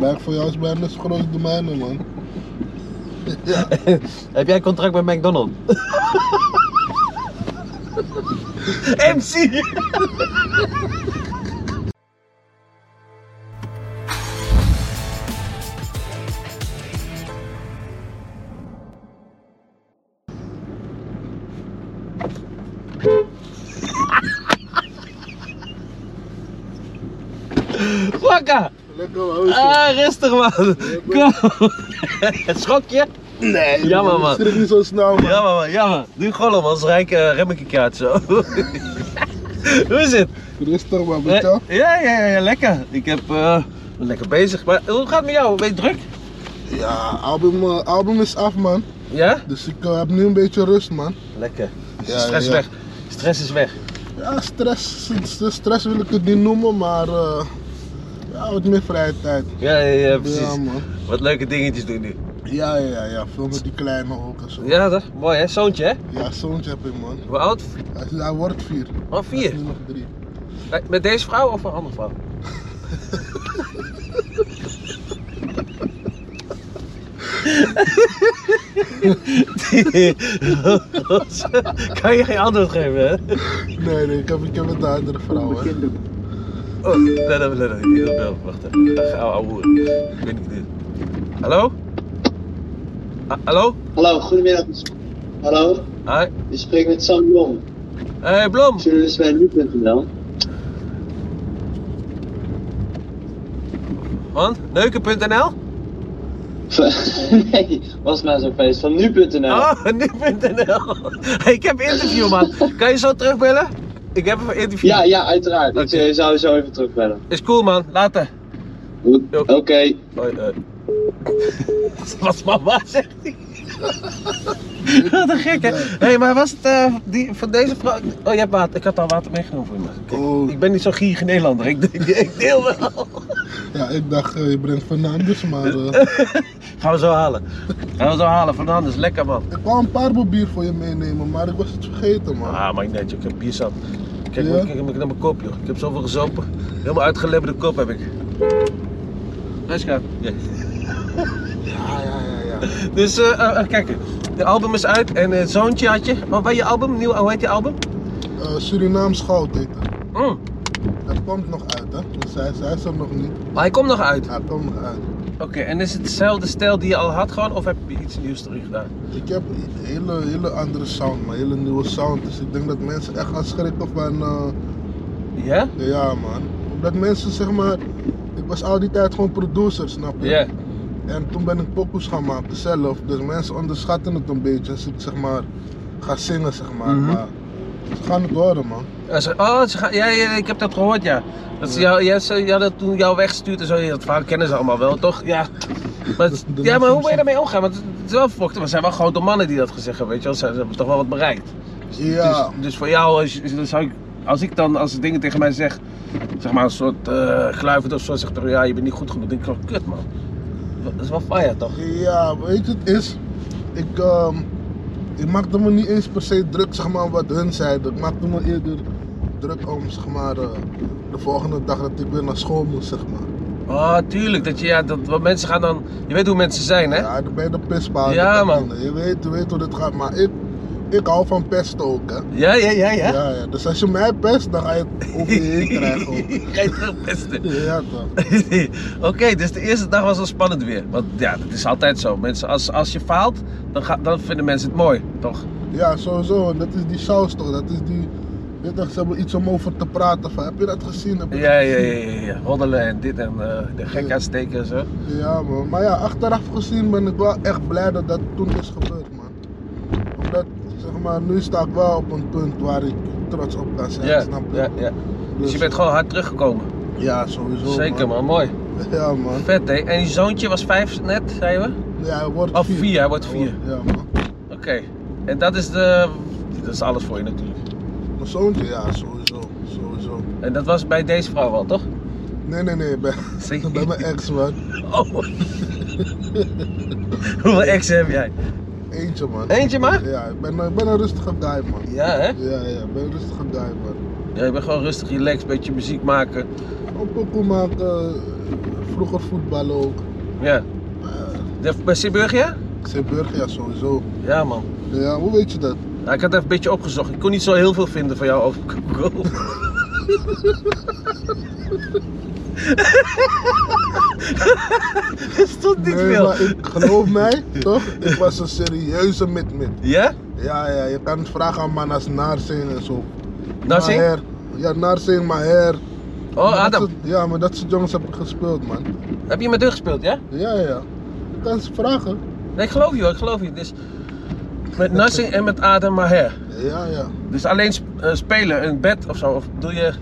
Merk voor jou is bijna zo groot als de mijne, man. Ja. Heb jij een contract met McDonald's? MC! Wakka! Lekker, man. Ah, rustig man! Kom! Schok je? Nee, jammer, man. Schrik niet zo snel, man. Jammer man, jammer. Doe gewoon man, anders rijk, eh, rem ik een kaart zo. Hoe is het? Rustig, man. Eh? Weet je wel? Ja, ja, ja, ja, lekker. Ik heb eh, ben lekker bezig. Maar hoe gaat het met jou? Ben je druk? Ja, album, eh, album is af, man. Ja? Dus ik eh, heb nu een beetje rust, man. Lekker. Dus de Ja, stress ja, ja. weg. Stress is weg. Ja, stress, st- stress wil ik het niet noemen, maar eh, ja, wat meer vrije tijd. Ja, ja, ja, precies. Ja, man. Wat leuke dingetjes doen nu. Ja, ja, ja, ja. Veel met die kleine ook en zo. Ja, toch? Mooi hè? Zoontje hè? Ja, zoontje heb ik, man. Hoe oud? Hij, is- hij wordt vier. Oh, Hij is vier. nu nog drie. Bij- Met deze vrouw of een andere vrouw? kan je geen antwoord geven, hè? Nee, nee, ik heb, ik heb het andere vrouw, hè. Oh, let op, let op. Ik heb een bel. Wacht even. Ga ouwe hoeren. Ik weet niet dit. Hallo? Ah, hallo? Hallo, goedemiddag. Hallo, Hi. ik spreek met Sam Blom, Hey, Blom. journalist bij nu.nl. Man, neuken.nl? nee, was maar zo'n feest van nu.nl. Oh, nu.nl. Hey, ik heb een interview, man. Kan je zo terugbellen? Ik heb een interview. Ja, ja, uiteraard. Oké. Ik eh, zou zo even terugbellen. Is cool, man. Later. Goed, Jo. Oké, Hoi, hoi. Wat mama zegt hij. Wat een gek, hè? Hé, hey, maar was het eh, die, van deze vrouw... Oh, je hebt water. Ik had al water meegenomen voor je. maar kijk, Oh. Ik ben niet zo'n gierige Nederlander. Ik, ik, ik deel wel. Ja, ik dacht, eh, je brengt Fernandes, maar eh, Gaan we zo halen. Gaan we zo halen. Fernandes, lekker, man. ik wou een paar bier voor je meenemen, maar ik was het vergeten, man. Ah, maar ik net, joh. Ik heb bier zat. Kijk, Ja? maar, kijk maar naar mijn kop, joh. Ik heb zoveel gezopen. Helemaal uitgelebberde kop heb ik. Reska. Ja. Ja, ja, ja, ja. Dus eh, eh, eh, kijk, de album is uit en het zoontje had je. Maar bij je album, nieuw, hoe heet die album? Eh, Surinaams goud heet het. Mm. Het komt nog uit, hè. Dus hij, hij is er nog niet. Maar hij komt nog uit. Hij komt nog uit. Oké, en is het dezelfde stijl die je al had gewoon, of heb je iets nieuws erin gedaan? Ik heb een hele, hele andere sound, maar een hele nieuwe sound. Dus ik denk dat mensen echt gaan schrikken van, eh, Ja? ja man. Omdat mensen zeg maar, ik was al die tijd gewoon producer, snap je? Ja. En toen ben ik pokoes gaan maken zelf, dus mensen onderschatten het een beetje als ik zeg maar ga zingen, zeg maar. Mhm. Maar ze gaan het horen man. Ja, ze- Oh, ze gaan- ja, ja, ik heb dat gehoord, ja. Dat ze jou, ja, ze, ja, dat toen jou weggestuurd en zo, ja, dat verhaal kennen ze allemaal wel, toch? Ja. Maar, het- De- de ja, maar hoe ben mensen- je daarmee omgaan? Want het het is wel vervolgd, maar het zijn wel grote mannen die dat gezegd hebben, weet je wel. Ze, ze hebben toch wel wat bereikt. Ja, Dus, dus voor jou, is, is- dan zou ik, als ik dan, als dingen tegen mij zeg, zeg maar een soort eh gluivend of zo, zegt er, ja, je bent niet goed genoeg, dan denk ik, oh, kut man. Dat is wel fire, toch? ja, weet je het is, ik, ehm, ik maakte me niet eens per se druk zeg maar wat hun zeiden. Ik maakte me eerder druk om zeg maar eh, de volgende dag dat ik weer naar school moest zeg maar. Oh, tuurlijk. Dat je, ja, dat, want mensen gaan dan... Je weet hoe mensen zijn, hè? Ja, dan ben je de pispaal. Ja, man. Je weet, je weet hoe dit gaat, maar ik, ik hou van pesten ook, hè. Ja, ja, ja, ja. Ja, ja. Dus als je mij pest, dan ga je het over je heen krijgen. ook. Ga je terugpesten. Ja, toch. Oké, dus de eerste dag was al spannend weer. Want ja, dat is altijd zo. Mensen, als, als je faalt, dan, ga, dan vinden mensen het mooi, toch? Ja, sowieso. En dat is die saus toch? Dat is die... Weet je, ze hebben iets om over te praten van. Heb je dat gezien? Heb je dat Ja, ja, gezien? ja, ja. ja. Roddelen en dit en eh, de gek uitsteken en zo. Ja, man. Maar ja, achteraf gezien ben ik wel echt blij dat dat toen is gebeurd, man. Omdat, zeg maar, nu sta ik wel op een punt waar ik trots op kan zijn, Ja, snap je? ja, ja. Dus je bent gewoon hard teruggekomen. Ja, sowieso, Zeker, man. Mooi. Ja, man. Vet, hè? En je zoontje was vijf net, zeiden we? Ja, hij wordt Oh, vier, hij wordt vier. Ja, man. Oké. En dat is de... Dat is alles voor je natuurlijk. Mijn zoontje, ja, sowieso. Sowieso. En dat was bij deze vrouw wel, toch? Nee, nee, nee, bij, Zeker. bij mijn ex, man. Oh. Hoeveel ex heb jij? Eentje, man. Eentje maar? Ja, ik ben, ik ben een rustige guy, man. Ja, hè? Ja, ja, ik ben een rustige guy, man. Ja, je bent gewoon rustig, relaxed, beetje muziek maken. Een pokoe maken, eh, Vroeger voetballen ook. Ja. De, bij Seaburg, ja? Ik zei Burger, ja sowieso. Ja, man. Ja, hoe weet je dat? Ja, ik had even een beetje opgezocht. Ik kon niet zo heel veel vinden van jou over Google. Er stond niet Nee, veel. maar ik, geloof mij, toch? Ik was een serieuze mid-mid. Ja? Ja, ja, je kan het vragen aan mannen als Narsing en zo. Narsing? Maher. Ja, Narsing, Maher. Maar Oh, dat Adam. soort- ja, maar dat soort jongens heb ik gespeeld, man. Heb je met hun gespeeld, ja? Ja, ja, ja. Je kan ze vragen. Nee, ik geloof je hoor, ik geloof je. Dus met Nassing en met Adam Maher. Ja, ja. Dus alleen sp- eh, spelen, een bed of zo. Of doe je.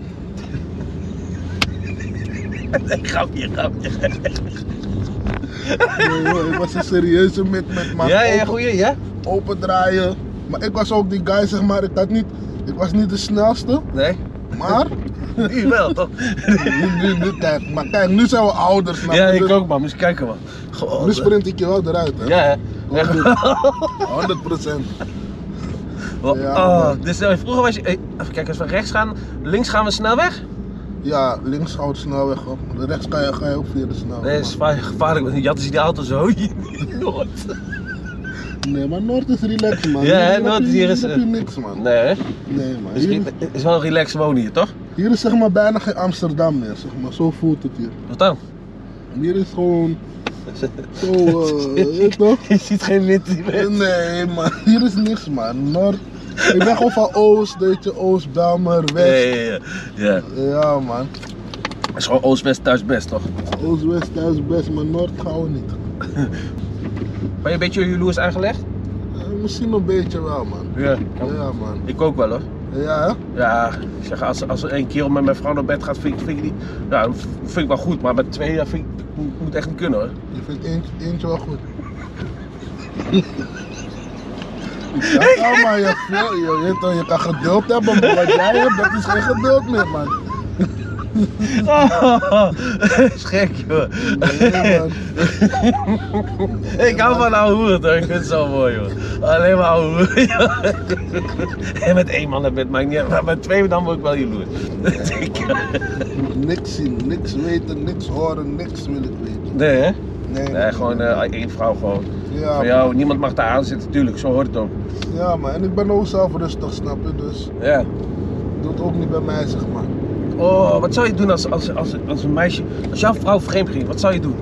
Nee, grapje, grapje. Nee, joh, ik was een serieuze mid-mid, man. ja, ja, Open- goeie, ja? opendraaien. Maar ik was ook die guy, zeg maar. Ik, had niet, ik was niet de snelste, Nee, maar. nu wel toch? nu, nu, nu, kijk, maar kijk, nu zijn we ouder, snap ja, je? ik Dus ook man, moet je kijken man. Goh, Nu eh, sprint ik je wel eruit, hè? Ja, hè? Echt. dus- 100 procent. Wel, Ja, oh, man. dus eh, vroeger was je. eh, Even kijken, als we rechts gaan, links gaan we snel weg? Ja, links houdt de snelweg op. Rechts kan je, ga je ook via de snelweg. Nee, dat is man. gevaarlijk, gevaarlijk, want die jatten zien die auto zo. Nooit. Nee, maar Noord is relaxed, man. Ja, hè, heb Noord, je- hier is- heb je niks, man. Nee, hè? Nee, man. Dus Hier, het is wel een relaxed wonen hier, toch? hier is zeg maar bijna geen Amsterdam meer, zeg maar. Zo voelt het hier. Wat dan? Hier is gewoon zo, eh, je weet toch? Je ziet geen wind meer. Nee, man. Hier is niks, man. Noord. Ik ben gewoon van Oost, weet je. Oost, Belmer, West. Nee, ja, ja, ja. Ja, man. Het is gewoon oost-west, thuis-best, toch? Oost, West, thuis best, maar Noord gaan we niet. Ben je een beetje jaloers aangelegd? Eh, misschien een beetje wel, man. Ja. Ja, man. Ik ook wel hoor. Ja, hè? Ja, ik zeg, als, als er één kerel met mijn vrouw naar bed gaat, vind ik, vind ik die. Nou, vind ik wel goed, maar met twee ja, vind ik, moet- moet echt niet kunnen hoor. Je vindt eentje, eentje wel goed. Ja, ja, maar je, veel, je, weet toch, je kan geduld hebben, maar wat jij hebt, dat is geen geduld meer, man. Oh, is gek joh. Nee, man. Ik hou van oude hoeren, hoor. ik vind het zo mooi joh. Alleen maar oude hoeren. joh. En met één man naar bed maakt niet uit, maar met twee dan word ik wel jaloers. Niks zien, niks weten, niks horen, niks wil ik weten. Nee hè? Nee, Nee, gewoon eh, één vrouw gewoon. ja, Van jou, niemand mag daar aan zitten, tuurlijk, zo hoort het ook. man. ja, man. En ik ben ook zelf rustig, snap je? Dus Ja. doet ook niet bij mij, zeg maar. Oh, wat zou je doen als, als, als, als een meisje, als jouw vrouw vreemd ging, wat zou je doen?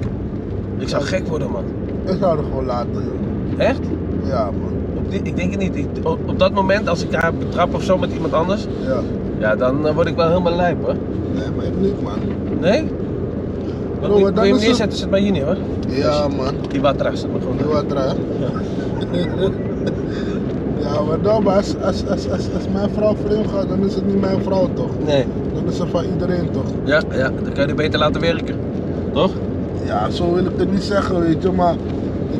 Ik zou gek worden man. Ik zou er gewoon laten, joh. Echt? Ja, man. Op die- ik denk het niet. Ik- op, op dat moment, als ik haar betrap of zo met iemand anders, Ja. ja, dan eh, word ik wel helemaal lijp hoor. Nee, maar ik niet, man. Nee? Wat maar moet dan wil je hem is het- neerzetten? Zet maar hier neer hoor. Ja, man. Die water zet maar gewoon. Doe wat raar. Ja, maar dan, maar als, als, als, als, als mijn vrouw vreemd gaat, dan is het niet mijn vrouw, toch? Nee. Dan is het van iedereen, toch? Ja, ja, dan kan je die beter laten werken. Toch? Ja, zo wil ik het niet zeggen, weet je, maar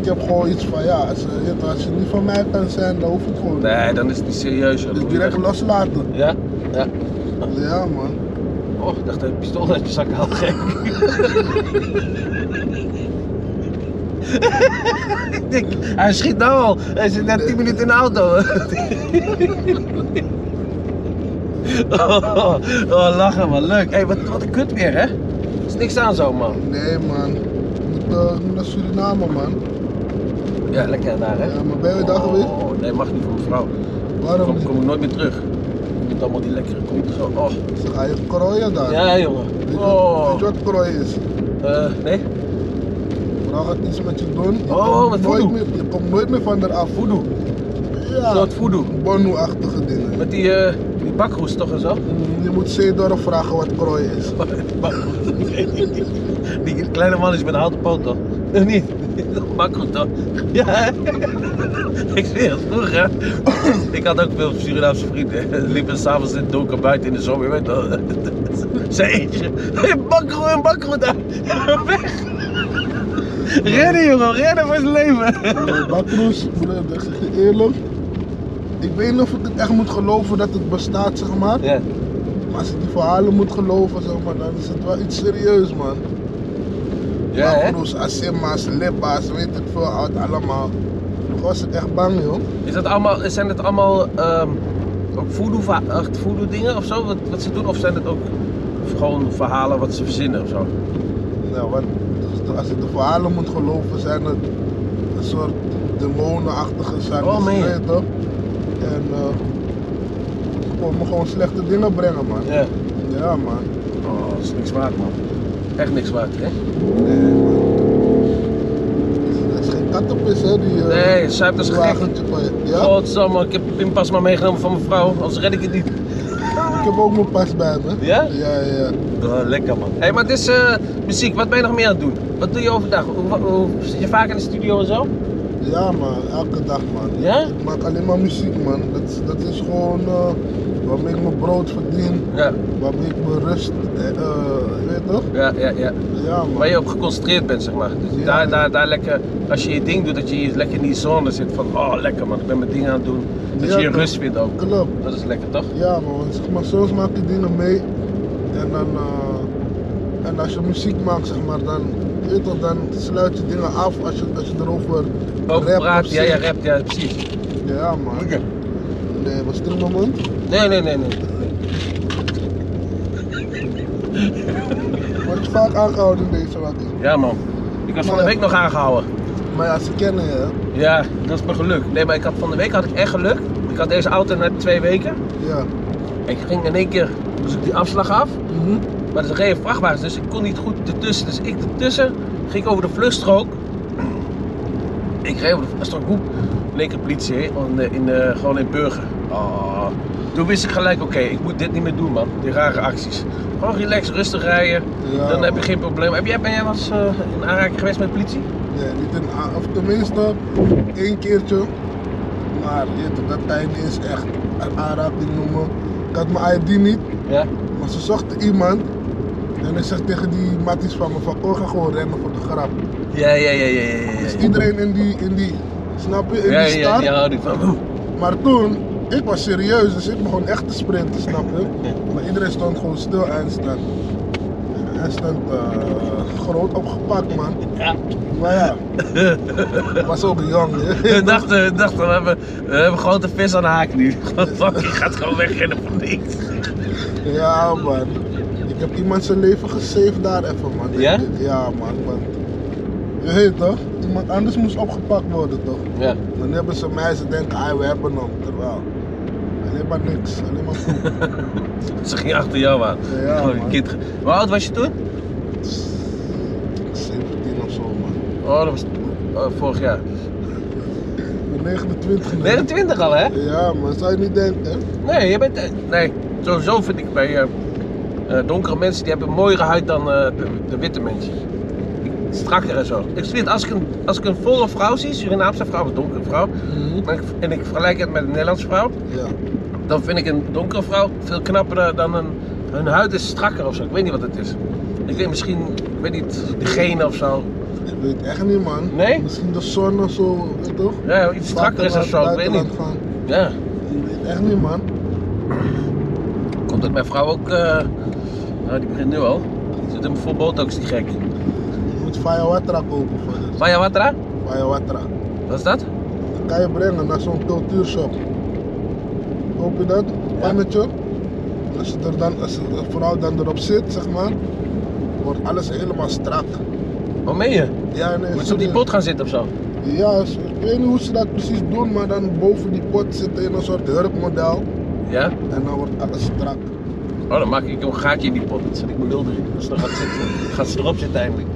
ik heb gewoon iets van, ja, als, eh, je weet, als je niet van mij kan zijn, dan hoef ik gewoon niet. Nee, dan is het niet serieus. hoor. Dus direct loslaten. Ja? Ja. Ja, man. Oh, ik dacht dat je een pistool uit je zak had. Gek. Ik denk, hij schiet nou al. Hij zit net 10 minuten in de auto. Oh, oh, lachen man, leuk. hey, wat, wat een kut weer hè? Er is niks aan zo man. Nee, man. Ik moet eh, ik moet naar Suriname, man. Ja, lekker daar hè? Ja, maar ben je daar geweest? Oh, nee, mag niet voor mijn vrouw. Waarom Kom, niet? kom ik nooit meer terug. Met allemaal die lekkere komt zo. Oh, Ze gaan je krooien daar. ja jongen. Ah. Weet, je, wat- Oh, weet je wat krooien is? Eh, nee? Vrouw gaat iets met je doen. Je Oh, komt met nooit voodoo. meer, Je komt nooit meer van eraf. Voodoo. Ja. Een soort voodoo. Bonu-achtige dingen. Met die, eh die bakroes toch en zo? Je moet Zeedorf vragen wat krooien is. Die kleine man is met een houten poot toch? Of niet? Bakroes toch? Ja, hè? Ik zweer het vroeger. hè? Ik had ook veel Surinaamse vrienden. Ze liepen s'avonds in het donker buiten in de zon. Je weet wel. Ze eentje. Hé, bakro en bakro daar. Weg. Rennen jongen, rennen voor zijn leven. Eh, Bakroes, broer, ik zeg je eerlijk. Ik weet niet of ik het echt moet geloven dat het bestaat, zeg maar. Ja. Maar als ik die verhalen moet geloven, zeg maar, dan is het wel iets serieus, man. Ja, hè? Bakroes, Asima's, Lippa's, weet ik veel, oud allemaal. Toen was ik echt bang, joh. Is dat allemaal, zijn het allemaal ehm, ook voodoo, va- echt voodoo dingen of zo? Wat, wat ze doen? Of zijn het ook gewoon verhalen wat ze verzinnen of zo? Nee, Ja, want als ik de verhalen moet geloven, zijn het een soort demonenachtige zaken. Oh, man. weet je toch? En eh ze komen gewoon slechte dingen brengen, man. Ja. Ja, man. Oh, dat is niks waard, man. Eh, Echt niks waard, hè? Nee, man. Het is geen kattenpis, hè? Die, eh, Nee, zuip is die gek. Oh. wagentje van je. Ja? Godsamme, ik heb de pinpas maar meegenomen van mijn vrouw, anders red ik het niet. Ik heb ook mijn pas bij me. Ja? Ja, ja, ja. Oh, lekker man. Hé, hey, maar dit is eh, muziek. Wat ben je nog meer aan het doen? Wat doe je overdag? Hoe, hoe- hoe- zit je vaak in de studio en zo? Ja, man. Elke dag, man. Ja? Ik maak alleen maar muziek, man. Dat, is- dat is gewoon eh, waarmee ik mijn brood verdien. Ja, waarmee ik me rust, eh, eh, weet je toch? ja, ja. ja. Ja, man. Waar je op geconcentreerd bent, zeg maar. Dus Ja. daar, daar, daar lekker, als je je ding doet, dat je hier lekker in die zone zit van, oh lekker man, ik ben mijn ding aan het doen. Dat Ja, je je toch? rust vindt ook. Klopt. Dat is lekker toch? Ja, man. Want Zeg maar, soms maak je dingen mee en dan, eh, en als je muziek maakt, zeg maar, dan, weet je toch, dan sluit je dingen af als je, als je erover Ook rapt praat, of ja, ja, zingt. rapt, ja, precies. Ja, man. Nee, was dit mijn mond? Nee, nee, nee, nee. Word je vaak aangehouden in deze wat? Ja man. Ik was van de Maar- week nog aangehouden. Maar ja, ze kennen je, hè? Ja, dat is mijn geluk. Nee, maar ik had van de week had ik echt geluk. Ik had deze auto net twee weken. Ja. Ik ging in één keer dus ik die afslag af, Mhm. maar er reden vrachtwagens, dus ik kon niet goed ertussen. Dus ik ertussen ging over de vluchtstrook. Ik reed over de vluchtstrook, hoe? In één keer politie, hè, in, eh, in, eh, gewoon in Burger. Oh. Toen wist ik gelijk, oké, ik moet dit niet meer doen, man. Die rare acties. Gewoon relax, rustig rijden, Ja, dan heb je man. geen probleem. Heb jij, ben jij wel eens eh, in aanraking geweest met de politie? Nee, niet een, a- of tenminste één keertje. Maar je weet toch, dat kan je niet eens echt een aanraking noemen. Ik had mijn ID niet. Ja. Maar ze zochten iemand en ik zeg tegen die matties van me van, oh, ga gewoon rennen voor de grap. Ja, ja, ja, ja, ja. ja, Dus ja. iedereen in die, in die snap je, in Ja, die ja, ja, stad. die houding van. Maar toen, ik was serieus, dus ik begon echt te sprinten, snap je. Maar iedereen stond gewoon stil en stond, en stond eh, groot opgepakt, man. Ja. Maar ja, ik was ook jong, hè. Ik dacht, eh, ik dacht we, hebben, we hebben gewoon de vis aan de haak nu. Gewoon, fuck, die gaat gewoon wegrennen voor niks. Ja, man. Ik heb iemand zijn leven gesaved daar even, man. Ja? Ja, man. Want, je weet toch? Iemand anders moest opgepakt worden, toch? Ja. Dan hebben ze mij, ze denken, ah, we hebben hem. Terwijl, alleen maar niks. Alleen maar poep. Ze ging achter jou aan. Ja, Gewoon een man. kind. ge- Hoe oud was je toen? 17 of zo, man. Oh, dat was oh, vorig jaar. Ik ben 29 nu. 29 al, hè? Ja, man. Zou je niet denken? Nee, je bent... eh, Nee, sowieso vind ik bij eh, eh, donkere mensen, die hebben een mooiere huid dan eh, de, de witte mensen. Strakker en zo. Ik zweer het, als ik een, als ik een volle vrouw zie, Surinaamse vrouw, een donkere vrouw, en ik, en ik vergelijk het met een Nederlandse vrouw, Ja. dan vind ik een donkere vrouw veel knapper eh, dan een. Hun huid is strakker of zo. Ik weet niet wat het is. Ik weet misschien, ik weet niet, de genen of zo. Ik weet echt niet, man. Nee? Misschien de zon of zo, weet je toch? Ja, iets strakker is of zo. Ik weet niet. Buitenland gaan. Ja, Ik weet echt niet, man. komt dat mijn vrouw ook. eh, nou, die begint nu al. Zit hem vol botox, die gek. Je moet Fayawatra kopen voor je. Mayawatra? Fayawatra. Wat is dat? Dat kan je brengen naar zo'n cultuurshop. Koop je dat? Pannetje. Als je er dan, als je er vooral dan erop zit, zeg maar, wordt alles helemaal strak. Wat meen je? Ja, nee, Moet ze op die serieus. pot gaan zitten of zo? Ja, s- ik weet niet hoe ze dat precies doen, maar dan boven die pot zit in een soort hurkmodel Ja? en dan wordt alles strak. Oh, dan maak ik een gaatje in die pot. Dan zet ik mijn lul erin. Dus dan gaat, zitten, gaat ze erop zitten eindelijk.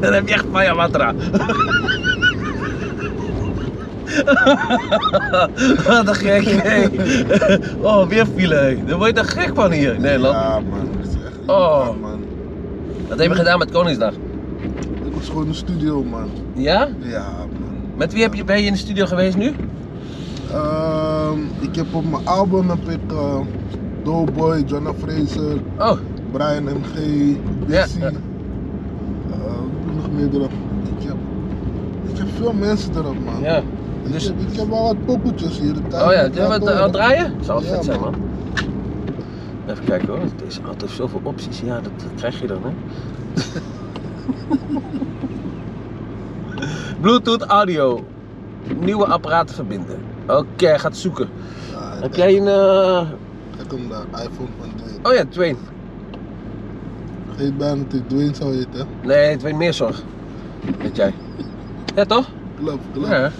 dan heb je echt Mayawatra. Wat een gek, hé. Oh, weer file, hé. Daar word je toch gek van hier in Nederland. Ja, man, dat is echt. niet Oh. waar, man. Wat heb je gedaan met Koningsdag? Dit was gewoon een studio, man. Ja? Ja, man. Met wie heb je, ben je in de studio geweest nu? Ehm, ik heb op mijn album heb ik eh, Doughboy, Jonah Fraser, Oh, Brian MG, Bessie. Ja, Ja, ja. nog meer erop. Ik heb, ik heb veel mensen erop, man. ja. Ik, Dus, heb, ik heb wel wat poppetjes hier. dat kan oh ja, ik zullen we laten het aan horen. het draaien? Zou wel Ja, vet zijn, man. Even kijken hoor, deze auto heeft zoveel opties. Ja, dat, dat krijg je dan, hè. Bluetooth audio. Nieuwe apparaten verbinden. Oké, gaat zoeken. Ja, Heb jij een... eh, Ik heb hem daar, iPhone van de Oh ja, twee. heet bijna natuurlijk Dwayne zou heten. hè? Nee, het weet meer zorg. Weet jij. Ja, toch? Klopt, klopt. Ja, Ja.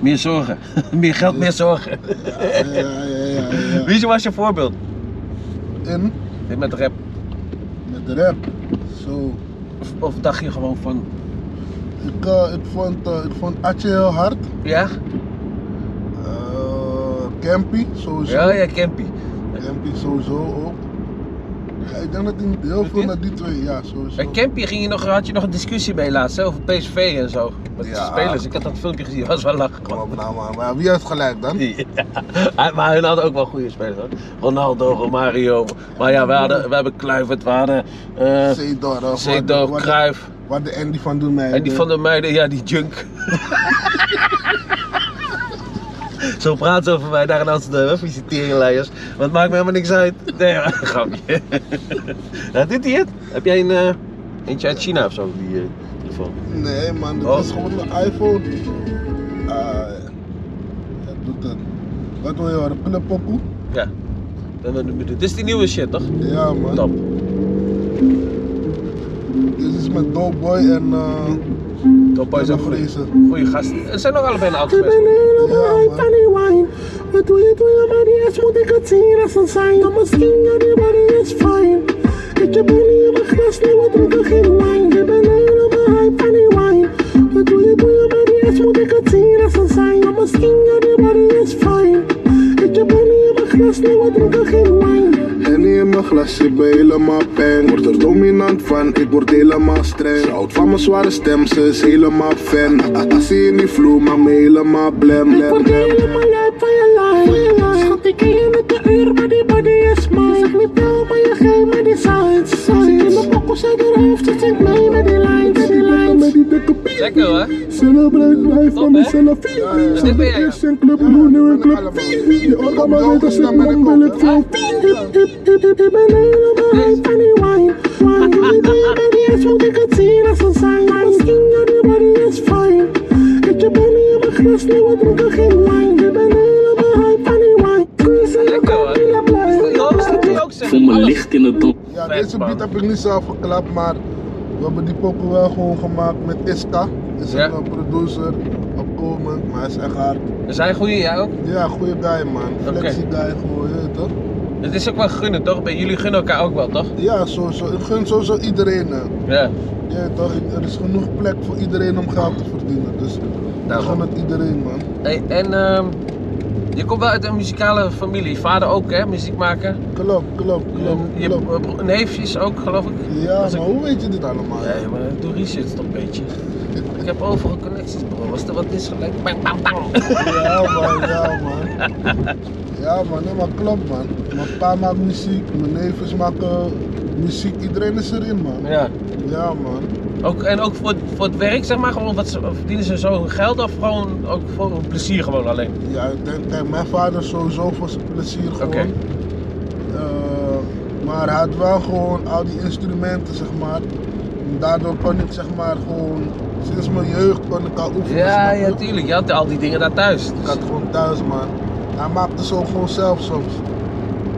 Meer zorgen. meer geld, meer zorgen. ja, ja, ja. ja. Wie was je voorbeeld? En Dit met rap. met de rap. Zo. Of, of dacht je gewoon van, Ik, eh, ik, vond, eh, ik vond Atje heel hard. ja? Eh, Campy sowieso. Ja, ja, Campy. Campy sowieso ook. Ja, ik denk dat hij heel Doet veel hij? naar die twee, ja sowieso. En Campy ging je nog, had je nog een discussie mee laatst, hè, over PSV en zo. Met de Ja. spelers. Ik had dat filmpje gezien, was wel lachen. Kom op nou man, maar wie heeft gelijk dan? Ja, maar hun hadden ook wel goede spelers hoor. Ronaldo, Romario. Maar ja, we, hadden, we hebben Kluivert, we hadden eh, Zeedorf. wat- Zeedorf, wat- Cruijff. Wat de Andy van doen mij. En eh, die van de meiden, ja, die junk. Zo praat ze over mij daar in Amsterdam, hè, visiteringenleiders. Maar het maakt me helemaal niks uit. Nee, maar, grapje. nou, dit hier? Heb jij een, eh, eentje uit China of zo, die eh, telefoon? Nee man, dit Oh. is gewoon een iPhone. Ah, dat doet het. Wat wil je horen? Pillenpokoe? Ja. Ben wel benieuwd. Dit is die nieuwe shit, toch? Ja man. Top. Dit is met Doughboy en eh Hm. Top boy is ook goed. Vrezen. Goeie gast. Ze zijn ook allebei een oud geweest. Ja, man. Wat doe je, doe je, maar die is, moet ik het zien als een zijn. Dan misschien, ja, die maar die is fijn. Ik heb een nieuwe glas, nieuwe dronken, geen wijn. Ik ben helemaal hype van die wijn. Wat doe je, doe je, maar die is, moet ik het zien als een zijn. Dan misschien, ja, die maar die is fijn. Ik heb een nieuwe glas, nieuwe dronken, geen wijn. En in mijn glas, ik ben helemaal pijn. Word er dominant van, ik word helemaal streng. Ze houdt van mijn zware stem, ze is helemaal fan. Als ze in die vloer, maakt me helemaal blem. Ik word helemaal lijp van je lijn. Schat, ik ken je met de uur, maar die body is mine. Zeg niet wel, maar je geeft me die signs. Zit in mijn pokkels uit haar hoofd, dus ik mee met die lines. Met die lines. Die dikke piep, Lekker hoor. zelf blijft mij Top, van hè? mezelf. Vier, Dus dit ben jij, ja. Eerst een club, nu nu een club. Vier, Die orgaan weet als ik man wil ik veel. Hip, hip, hip, hip, ik ben helemaal hype van die wine. Wine, die body is, moet ik het zien als een sign. Mijn skin, ja, die body is fine. Ik heb een nieuwe glas, nieuwe dronken, geen wijn. Ik ben helemaal hype van die wine. Squeeze, ik Lekker hoor. kan niet blij. Joost, dat kun je ook Voel me zeggen. Alles. licht in de dom. Ja, Vet, deze man. beat heb ik niet zelf geklapt, maar we hebben die pokken wel gewoon gemaakt met Iska. Is Ja. een eh, producer, opkomend, maar hij is echt hard. Er zijn goede, jij ook. Ja, goede guy man. Flexie guy gewoon, je weet toch? Het is ook wel gunnen, toch? Ben- Jullie gunnen elkaar ook wel, toch? Ja, sowieso. Ik gun sowieso iedereen. hè. Ja. Je weet toch, ik- er is genoeg plek voor iedereen om geld te verdienen. Dus ik Daarom. gun het iedereen man. Hey, en ehm, je komt wel uit een muzikale familie. Je Vader ook, hè? Muziek maken. Klopt, klopt, klopt, Je je klopt. bro- neefjes ook, geloof ik. Ja, Als maar ik- hoe weet je dit allemaal? Nee, maar ik doe research toch een beetje. Ik heb overal connecties, bro. Als er wat is, gelijk bang, bang, bang. Ja man, ja man. Ja man, nee, maar klopt man. Mijn pa maakt muziek, mijn neefjes maken muziek, iedereen is erin man. Ja. Ja man. Ook, en ook voor, voor het werk, zeg maar, gewoon wat ze, verdienen ze zo hun geld of gewoon ook voor hun plezier gewoon alleen? Ja, ik denk, kijk, mijn vader is sowieso voor zijn plezier gewoon. Oké. Eh, maar hij had wel gewoon al die instrumenten zeg maar. En daardoor kon ik zeg maar gewoon, sinds mijn jeugd kon ik al oefenen. Ja, snap je? ja, tuurlijk. Je had al die dingen daar thuis. Ik had gewoon thuis, man. Hij maakte zo gewoon zelf soms.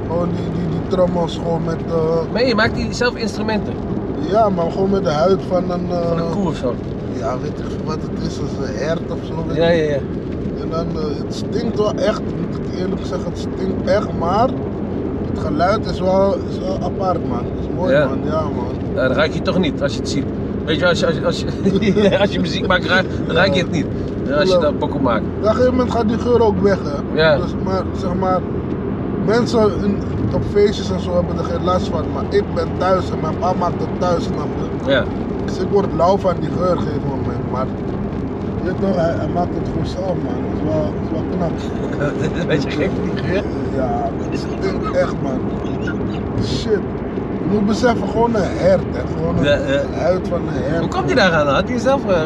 Gewoon die, die, die trommels gewoon met, eh, Nee, je maakt die zelf instrumenten. ja man, gewoon met de huid van een, eh, Van een koe of zo. ja weet ik veel wat het is, als een hert of zo. weet Ja, ik. ja, ja. En dan, eh, het stinkt wel echt, moet ik eerlijk zeggen, het stinkt echt, maar het geluid is wel, is wel apart man. is mooi Ja. man, ja man. Ja, dat Eh, ruik je toch niet als je het ziet. Weet je, als je, als je, als je, als je muziek maakt, ruik, dan ruik je het niet. Ja, Als je dat pokken maakt. Op een gegeven moment gaat die geur ook weg hè. Ja. Dus maar, zeg maar, mensen in, op feestjes en zo hebben er geen last van, maar ik ben thuis en mijn pa maakt het thuis, snap je? Ja. Dus ik word lauw van die geur op een gegeven moment, maar je weet toch, hij, hij maakt het voor zelf man, dat is wel, dat is wel knap. Dit is een beetje gek, die geur. Ja, maar het stinkt echt man. Shit. Je moet beseffen, gewoon een hert hè, gewoon een Ja, ja. een huid van een hert. Hoe komt die daaraan? Had hij zelf eh,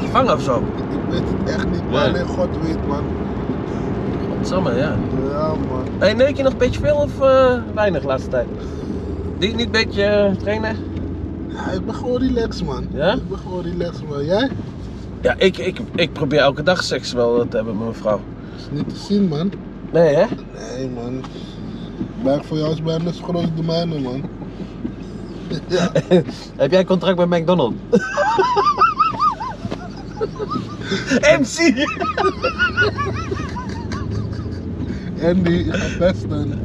gevangen of zo? Ik weet het echt niet, maar Nee. alleen God weet man. Samen, ja. Ja man. Hey, neuk je nog een beetje veel of eh, weinig de laatste tijd? Niet, niet een beetje eh, trainen? Ja, ik ben gewoon relaxed man. Ja? Ik ben gewoon relaxed man. Jij? Ja, ik, ik, ik probeer elke dag seks wel eh, te hebben met mijn vrouw. Is niet te zien man. Nee, hè? Nee man. Buik voor jou is bijna zo groot als de mijne man. Ja. Heb jij contract bij McDonald's? MC! Andy, je gaat pesten.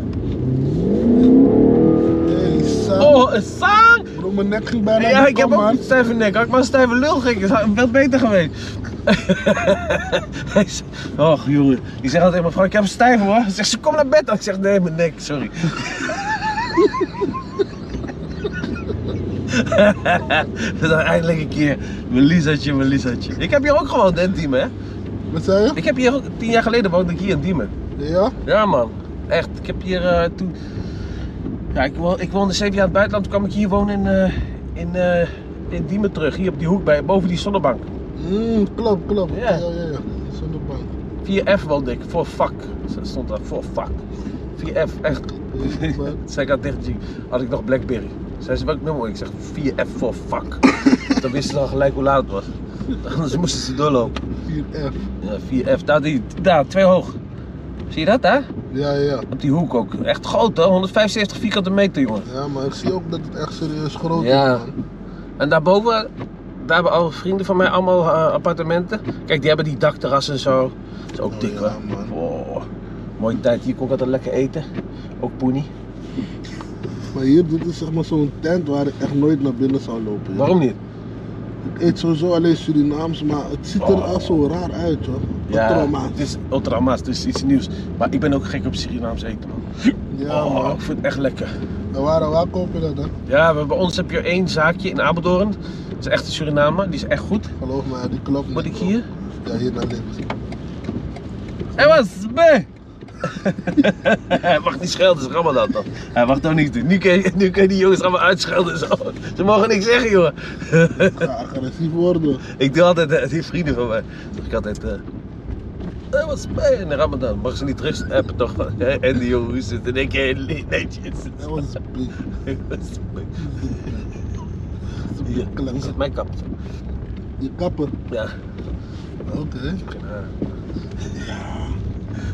Hey, Sam. Oh, een zang! Bro, mijn nek ging bijna Ja, niet ik heb om, ook man. een stijve nek. Had ik maar een stijve lul gekregen, dat had wel beter geweest. Hij z- Och jongen, die zegt altijd tegen mijn vrouw, ik heb een stijve hoor. Ze zegt ze, kom naar bed. Ik zeg, nee, mijn nek, sorry. Dat is eindelijk een keer mijn Liesatje, mijn Liesatje. Ik heb hier ook gewoond hè, in Diemen, hè. Wat zei je? Ik heb hier ook, tien jaar geleden woonde ik hier in Diemen. Ja? Ja man, echt. Ik heb hier eh, toen... Ja, ik, wo- ik woonde zeven jaar in het buitenland, toen kwam ik hier wonen in, eh, in, eh, in Diemen terug. Hier op die hoek, bij, boven die zonnebank. Mm, klopt, klopt. Ja. Ja, ja, ja. ja. Zonder bank. 4F woonde ik, voor fuck. Zo Stond daar, voor fuck. 4F, echt. Ja, maar- Zei ik aan tegen G, had ik nog Blackberry. Zei ze, welk nummer? Ik zeg, 4F voor fuck. Dan wisten ze al gelijk hoe laat het was. Anders moesten ze doorlopen. 4F. Ja, 4F, daar, die, daar, twee hoog. Zie je dat daar? Ja, ja. Op die hoek ook. Echt groot hè, 175 vierkante meter jongen. Ja, maar ik zie ook dat het echt serieus groot Ja. is, man. En daarboven, daar hebben al vrienden van mij allemaal eh, appartementen. Kijk, die hebben die dakterras en zo. Dat is ook Oh dik ja, hoor. man. Wow. Mooie tijd, hier kon ik altijd lekker eten. Ook poenie. Maar hier, dit is zeg maar zo'n tent waar ik echt nooit naar binnen zou lopen. joh. Waarom niet? Ik eet sowieso alleen Surinaams, maar het ziet er Oh. al zo raar uit, hoor. Trauma. het is ultrama's, het is iets nieuws. Maar ik ben ook gek op Surinaams eten man. Ja, oh, man. ik vind het echt lekker. En waar, waar koop je dat, hè? Ja, we- bij ons heb je één zaakje in Apeldoorn. Dat is echt een Surinamer, die is echt goed. Geloof me, die klopt niet. Moet ik bro. hier? Ja, hier naar links. Hij was bij. Hij mag niet schelden, ze rammen dat dan. Hij mag toch niks doen. Nu kun je, nu kun je die jongens allemaal uitschelden. en Zo. Ze mogen niks zeggen, joh. Ik ga agressief worden. ik doe altijd, eh, die vrienden van mij, zeg ik altijd. eh hij was bij in de Ramadan. Mag ze niet terug appen toch? En die jongen, hoe zit het? En ik, hey, netjes. Dat was big. Hij was bij. big Hier, hoe klank. zit mijn kap? Je kapper. Ja, Oké. geen haar.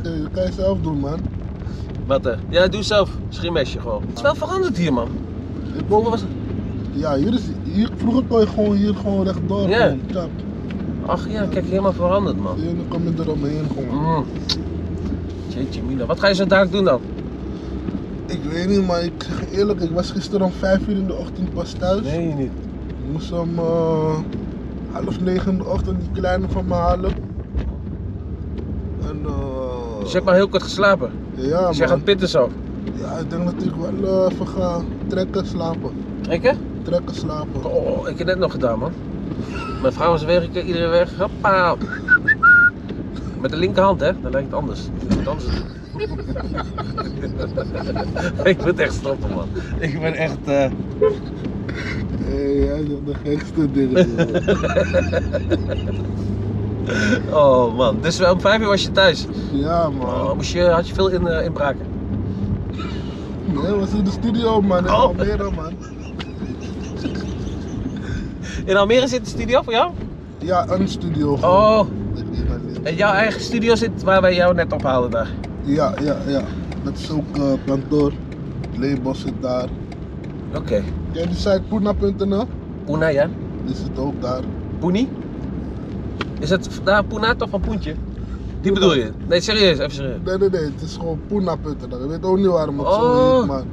Hey, dat kan je zelf doen, man. Wat eh? Ja, doe zelf. Schimmesje gewoon. Het is wel veranderd hier, man. Ik Vroeger was Ja, hier is, hier, vroeger kon je gewoon hier gewoon rechtdoor. Ja. Gewoon, tjap. Ach ja, kijk, helemaal veranderd, man. En dan kom je eromheen gewoon. Mm. Jeetje mina, wat ga je zo dadelijk doen dan? Ik weet niet, maar ik zeg je eerlijk, ik was gisteren om 5 uur in de ochtend pas thuis. Nee, niet. Ik moest om eh, half negen in de ochtend die kleine van me halen. En eh. Dus je hebt maar heel kort geslapen. Ja, Dus jij gaat man. pitten zo. Ja, ik denk dat ik wel eh, even ga trekken slapen. Trekken? Trekken slapen. Oh, ik heb het net nog gedaan, man. Mijn vrouw is werken, iedere weg. Hoppa. Met de linkerhand, hè? Dan lijkt het anders. Je moet anders doen. ik moet echt stoppen, man. Ik ben echt... eh, Hey, jij zegt de gekste dingen. joh. Oh, man. Dus om vijf uur was je thuis. ja, man. Oh, moest je, had je veel in, eh, inbraken? Nee, was in de studio, man. In Oh. Almere, man. In Almere zit de studio voor jou? Ja, een studio. gewoon. Oh, Ik weet het niet. en jouw eigen studio zit waar wij jou net ophaalden daar. Ja, ja, ja. Dat is ook eh, kantoor. Het label zit daar. Oké. Ken je die site poena.nl? Puna, ja? Die zit ook daar. Poenie? Is het daar Puna toch van Poentje? Die bedoel je? Nee, serieus, even serieus. Nee, nee, nee. Het is gewoon poena.nl. Ik weet ook niet waarom het Oh. zo heet, maar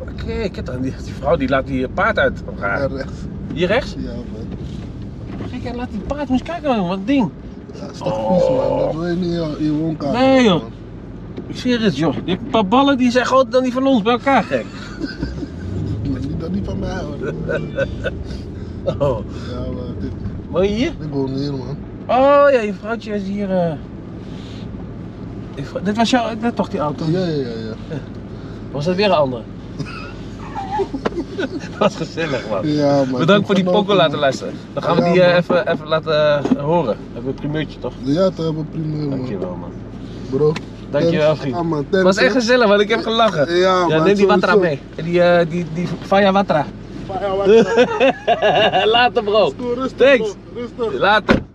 Oké, kijk dan, die, die vrouw die laat die eh, paard uit. Raar. ja, rechts. Hier rechts? Ja, man. Kijk, hij laat die paard, moet je kijken, jongen, wat ding. Ja, is toch vies, man. Dat wil je niet in je- in je woonkamer. Oh. Nee, joh. man. Ik zweer het, joh. Die heeft een paar ballen die zijn groter dan die van ons bij elkaar, gek. Maar Niet dat niet van mij, hoor. Oh, Ja, man. Dit, woon je hier? ik woon hier, man. Oh ja, je vrouwtje is hier. eh. Je vrou- Dit was jouw, net toch die auto? Ja, ja, ja. Ja, Was dat weer een andere? Wat gezellig, man. ja man. Ik heb Bedankt voor die genoten, pokken laten man. luisteren. Dan gaan we Ja, die eh, man. Mm. even, even laten eh, horen. We hebben een primeurtje toch? Ja, dat hebben we prima, man. Dankjewel man. Bro. Dankjewel thanks. vriend. Ah, man, Het thanks, was echt hè. gezellig, want ik heb gelachen. Ja, Ja, man, neem die watra sowieso. mee. Die, eh die, die Faya Watra. Ja, wacht, Later bro. Doe rustig. Thanks. bro, Rustig. Later.